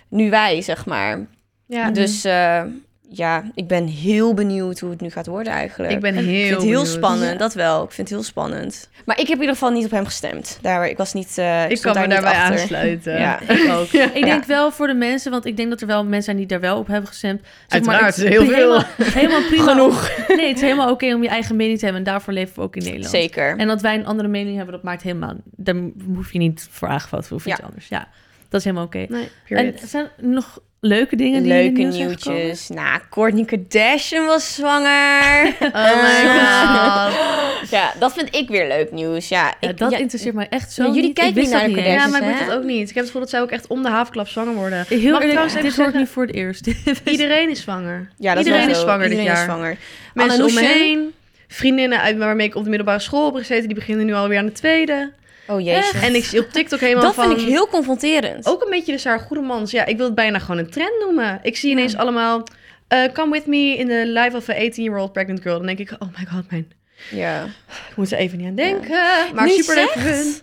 Speaker 2: nu wij, zeg maar.
Speaker 1: Ja.
Speaker 2: Dus eh, ja, ik ben heel benieuwd hoe het nu gaat worden eigenlijk.
Speaker 1: Ik ben
Speaker 3: Ik
Speaker 1: heel
Speaker 2: Ik vind het heel
Speaker 1: benieuwd.
Speaker 2: spannend,
Speaker 3: Ja.
Speaker 2: dat wel. Ik vind het heel spannend. Maar ik heb in ieder geval niet op hem gestemd. Daar, ik was niet. eh, ik
Speaker 1: Ik
Speaker 2: stond
Speaker 1: kan me
Speaker 2: daar niet
Speaker 1: daarbij
Speaker 2: achter.
Speaker 1: aansluiten.
Speaker 2: Ja.
Speaker 1: Ik ook.
Speaker 3: Ik denk wel voor de mensen, want ik denk dat er wel mensen zijn die daar wel op hebben gestemd.
Speaker 1: Uiteraard,
Speaker 3: het is
Speaker 1: heel veel.
Speaker 3: Helemaal, helemaal prima.
Speaker 2: Genoeg.
Speaker 3: Nee, het is helemaal oké om je eigen mening te hebben. En daarvoor leven we ook in Nederland.
Speaker 2: Zeker.
Speaker 3: En dat wij een andere mening hebben, dat maakt helemaal... Daar hoef je niet voor aangevat of iets
Speaker 2: Ja.
Speaker 3: anders. Ja, dat is helemaal oké.
Speaker 1: Nee, period.
Speaker 3: En zijn er nog leuke dingen die in
Speaker 2: Leuke
Speaker 3: het nieuws zijn gekomen?
Speaker 2: nieuwtjes. Nou, Kourtney Kardashian was zwanger.
Speaker 1: Oh my god.
Speaker 2: ja, dat vind ik weer leuk nieuws. Ja,
Speaker 3: Ja,
Speaker 2: ik-
Speaker 3: dat
Speaker 2: ja,
Speaker 3: interesseert mij echt zo
Speaker 2: Ja, jullie
Speaker 3: niet. Ik
Speaker 2: kijken
Speaker 3: wist
Speaker 2: niet
Speaker 3: dat
Speaker 2: naar de
Speaker 3: eens.
Speaker 2: Kardashians.
Speaker 1: Ja, maar ik
Speaker 2: hè?
Speaker 1: weet het ook niet. Ik heb het gevoel dat zij ook echt om de havenklap zwanger worden.
Speaker 3: Heel
Speaker 1: Mag ik
Speaker 3: eerlijk,
Speaker 1: trouwens even
Speaker 3: dit wordt
Speaker 1: zeggen-
Speaker 3: nu voor het eerst.
Speaker 1: Iedereen is zwanger.
Speaker 2: ja, dat
Speaker 1: Iedereen
Speaker 2: wel
Speaker 1: is
Speaker 2: zo.
Speaker 1: zwanger dit
Speaker 2: Iedereen is
Speaker 1: jaar.
Speaker 2: zwanger.
Speaker 1: Mensen om me
Speaker 2: Ananoesje?
Speaker 1: heen. Vriendinnen uit waarmee ik op de middelbare school heb gezeten, die beginnen nu alweer aan de tweede.
Speaker 2: Oh jezus.
Speaker 1: En ik zie op TikTok helemaal
Speaker 2: dat
Speaker 1: van...
Speaker 2: vind ik heel confronterend.
Speaker 1: Ook een beetje dus haar goede mans. Ja, ik wil het bijna gewoon een trend noemen. Ik zie ineens allemaal... eh, come with me in the life of a 18-year-old pregnant girl. Dan denk ik, oh my god, mijn...
Speaker 2: Ja.
Speaker 1: Ik moet er even niet aan denken. Maar
Speaker 2: Nu je
Speaker 1: super leuk voor
Speaker 2: zegt,
Speaker 1: hun.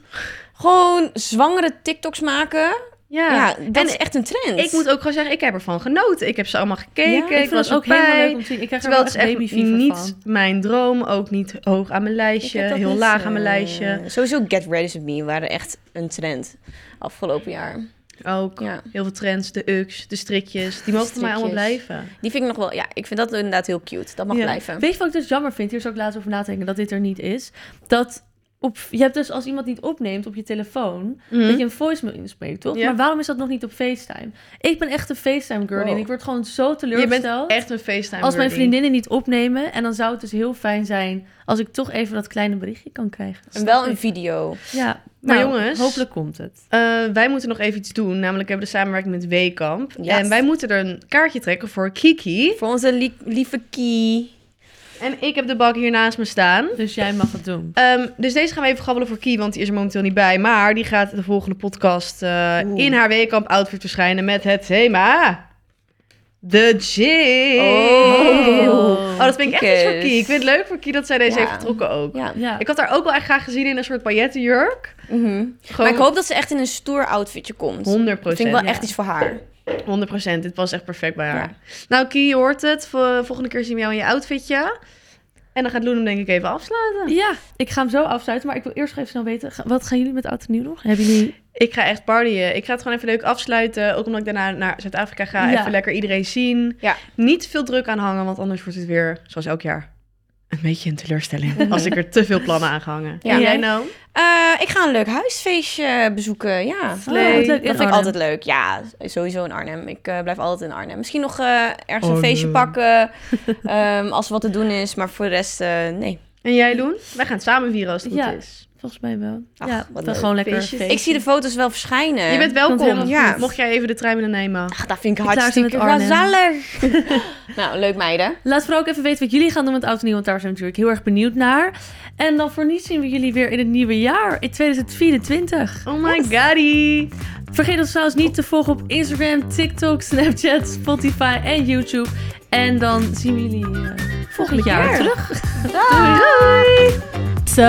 Speaker 2: Gewoon zwangere TikToks maken. Ja, dat
Speaker 1: en
Speaker 2: is echt een trend.
Speaker 1: ik moet ook gewoon zeggen, ik heb ervan genoten. Ik heb ze allemaal
Speaker 2: Ja,
Speaker 1: gekeken.
Speaker 2: ik
Speaker 3: Ik,
Speaker 1: ik
Speaker 3: vind
Speaker 1: was
Speaker 3: het ook
Speaker 1: erbij.
Speaker 3: helemaal leuk om te zien. Ik krijg
Speaker 1: Terwijl
Speaker 3: er
Speaker 1: het
Speaker 3: wel echt
Speaker 1: is echt
Speaker 3: babyfever
Speaker 1: niet
Speaker 3: van.
Speaker 1: mijn droom, ook niet hoog aan mijn
Speaker 2: Ik heb
Speaker 1: lijstje,
Speaker 2: dat
Speaker 1: heel
Speaker 2: niet,
Speaker 1: laag
Speaker 2: eh,
Speaker 1: aan mijn lijstje.
Speaker 2: Sowieso Get Ready With Me waren echt een trend afgelopen jaar.
Speaker 1: Ook
Speaker 2: Ja.
Speaker 1: heel veel trends, de UX, de strikjes, die mogen voor mij allemaal
Speaker 2: Strikjes.
Speaker 1: blijven.
Speaker 2: Die vind ik nog wel... Ja, ik vind dat inderdaad heel cute. Dat mag
Speaker 3: Ja.
Speaker 2: blijven.
Speaker 3: Weet je wat ik dus jammer vind? Hier zou ik laatst over nadenken dat dit er niet is. Dat op, je hebt dus als iemand niet opneemt op je telefoon, dat je een voicemail inspreekt, toch?
Speaker 1: Ja.
Speaker 3: Maar waarom is dat nog niet op FaceTime? Ik ben echt een FaceTime girl en
Speaker 2: Wow.
Speaker 3: ik word gewoon zo
Speaker 1: Je bent
Speaker 3: teleurgesteld.
Speaker 1: echt een FaceTime
Speaker 3: als mijn
Speaker 1: girlie.
Speaker 3: vriendinnen niet opnemen. En dan zou het dus heel fijn zijn als ik toch even dat kleine berichtje kan krijgen.
Speaker 2: En wel een video.
Speaker 3: Ja,
Speaker 1: Maar
Speaker 3: nou,
Speaker 1: jongens-
Speaker 3: Hopelijk komt het.
Speaker 1: Eh, wij moeten nog even iets doen, namelijk hebben we de samenwerking met Weekamp.
Speaker 2: Yes.
Speaker 1: En wij moeten er een kaartje trekken voor Kiki.
Speaker 2: Voor onze lie- lieve Kie.
Speaker 1: En ik heb de bak hier naast me staan.
Speaker 3: Dus jij mag het doen.
Speaker 1: Ehm, dus deze gaan we even grabbelen voor Kie, want die is er momenteel niet bij. Maar die gaat de volgende podcast eh,
Speaker 2: Oeh.
Speaker 1: in haar Weekamp outfit verschijnen met het thema... De gym.
Speaker 2: Oh.
Speaker 1: Oh, dat vind ik echt iets voor
Speaker 2: Kikkers.
Speaker 1: Kie. Ik vind het leuk voor Kie dat zij deze
Speaker 2: Ja.
Speaker 1: heeft getrokken ook.
Speaker 2: Ja.
Speaker 3: Ja.
Speaker 1: Ik had haar ook wel echt graag gezien in een soort paillettenjurk.
Speaker 2: Mhm. Maar
Speaker 1: Gewoon
Speaker 2: ik hoop dat ze echt in een stoer outfitje komt.
Speaker 1: 100
Speaker 2: Dat vind ik wel
Speaker 1: procent.
Speaker 2: echt iets voor haar.
Speaker 1: 100 procent. Dit was echt perfect bij haar.
Speaker 2: Ja.
Speaker 1: Nou, Kie, je hoort het. Vo- Volgende keer zien we jou in je outfitje. En dan gaat Loen hem denk ik even afsluiten.
Speaker 3: Ja, ik ga hem zo afsluiten. Maar ik wil eerst nog even snel weten, ga- wat gaan jullie met Oud en Nieuw nog? Hebben jullie...
Speaker 1: Ik ga echt partyen. Ik ga het gewoon even leuk afsluiten. Ook omdat ik daarna naar Zuid-Afrika ga.
Speaker 3: Ja.
Speaker 1: Even lekker iedereen zien.
Speaker 2: Ja.
Speaker 1: Niet veel druk aan hangen, want anders wordt het weer, zoals elk jaar, een beetje een teleurstelling. als ik er te veel plannen aan ga hangen.
Speaker 2: Ja.
Speaker 1: En jij nou?
Speaker 2: Eh, ik ga een leuk huisfeestje bezoeken. Ja.
Speaker 3: Oh,
Speaker 1: leuk.
Speaker 3: wat
Speaker 1: Dat
Speaker 2: Dat
Speaker 3: leuk. In
Speaker 2: vind ik
Speaker 3: Arnhem.
Speaker 2: altijd leuk. Ja, sowieso in Arnhem. Ik eh, blijf altijd in Arnhem. Misschien nog eh, ergens een
Speaker 1: Arnhem.
Speaker 2: feestje pakken ehm, als er wat te doen is. Maar voor de rest, eh, nee.
Speaker 1: En jij, Loen? Wij gaan het samen vieren als het goed
Speaker 3: Ja.
Speaker 1: is.
Speaker 3: Volgens mij wel.
Speaker 2: Ach,
Speaker 3: ja,
Speaker 2: wat
Speaker 3: dan
Speaker 2: leuk.
Speaker 3: gewoon lekker
Speaker 1: Feestjes.
Speaker 3: feestje.
Speaker 2: Ik zie de foto's wel verschijnen.
Speaker 1: Je bent
Speaker 3: Komt
Speaker 1: welkom.
Speaker 3: helemaal
Speaker 1: Ja,
Speaker 3: goed.
Speaker 1: mocht jij even de trein willen nemen.
Speaker 2: Ach, dat vind ik
Speaker 3: Ik luister
Speaker 2: hartstikke
Speaker 3: met Arnhem.
Speaker 2: gezellig. nou, leuk meiden.
Speaker 3: Laat vooral ook even weten wat jullie gaan doen met Oud en Nieuw, want daar zijn we natuurlijk heel erg benieuwd naar. En dan voor niets zien we jullie weer in het nieuwe jaar, in 2024.
Speaker 1: Oh my goddy.
Speaker 3: Vergeet ons trouwens niet te volgen op Instagram, TikTok, Snapchat, Spotify en YouTube. En dan zien we jullie eh, volgend jaar
Speaker 2: keer.
Speaker 3: terug.
Speaker 2: Doei.
Speaker 4: So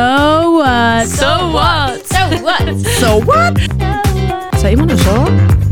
Speaker 4: what?
Speaker 2: So what? So what?
Speaker 4: So what? Seguimos nosotros.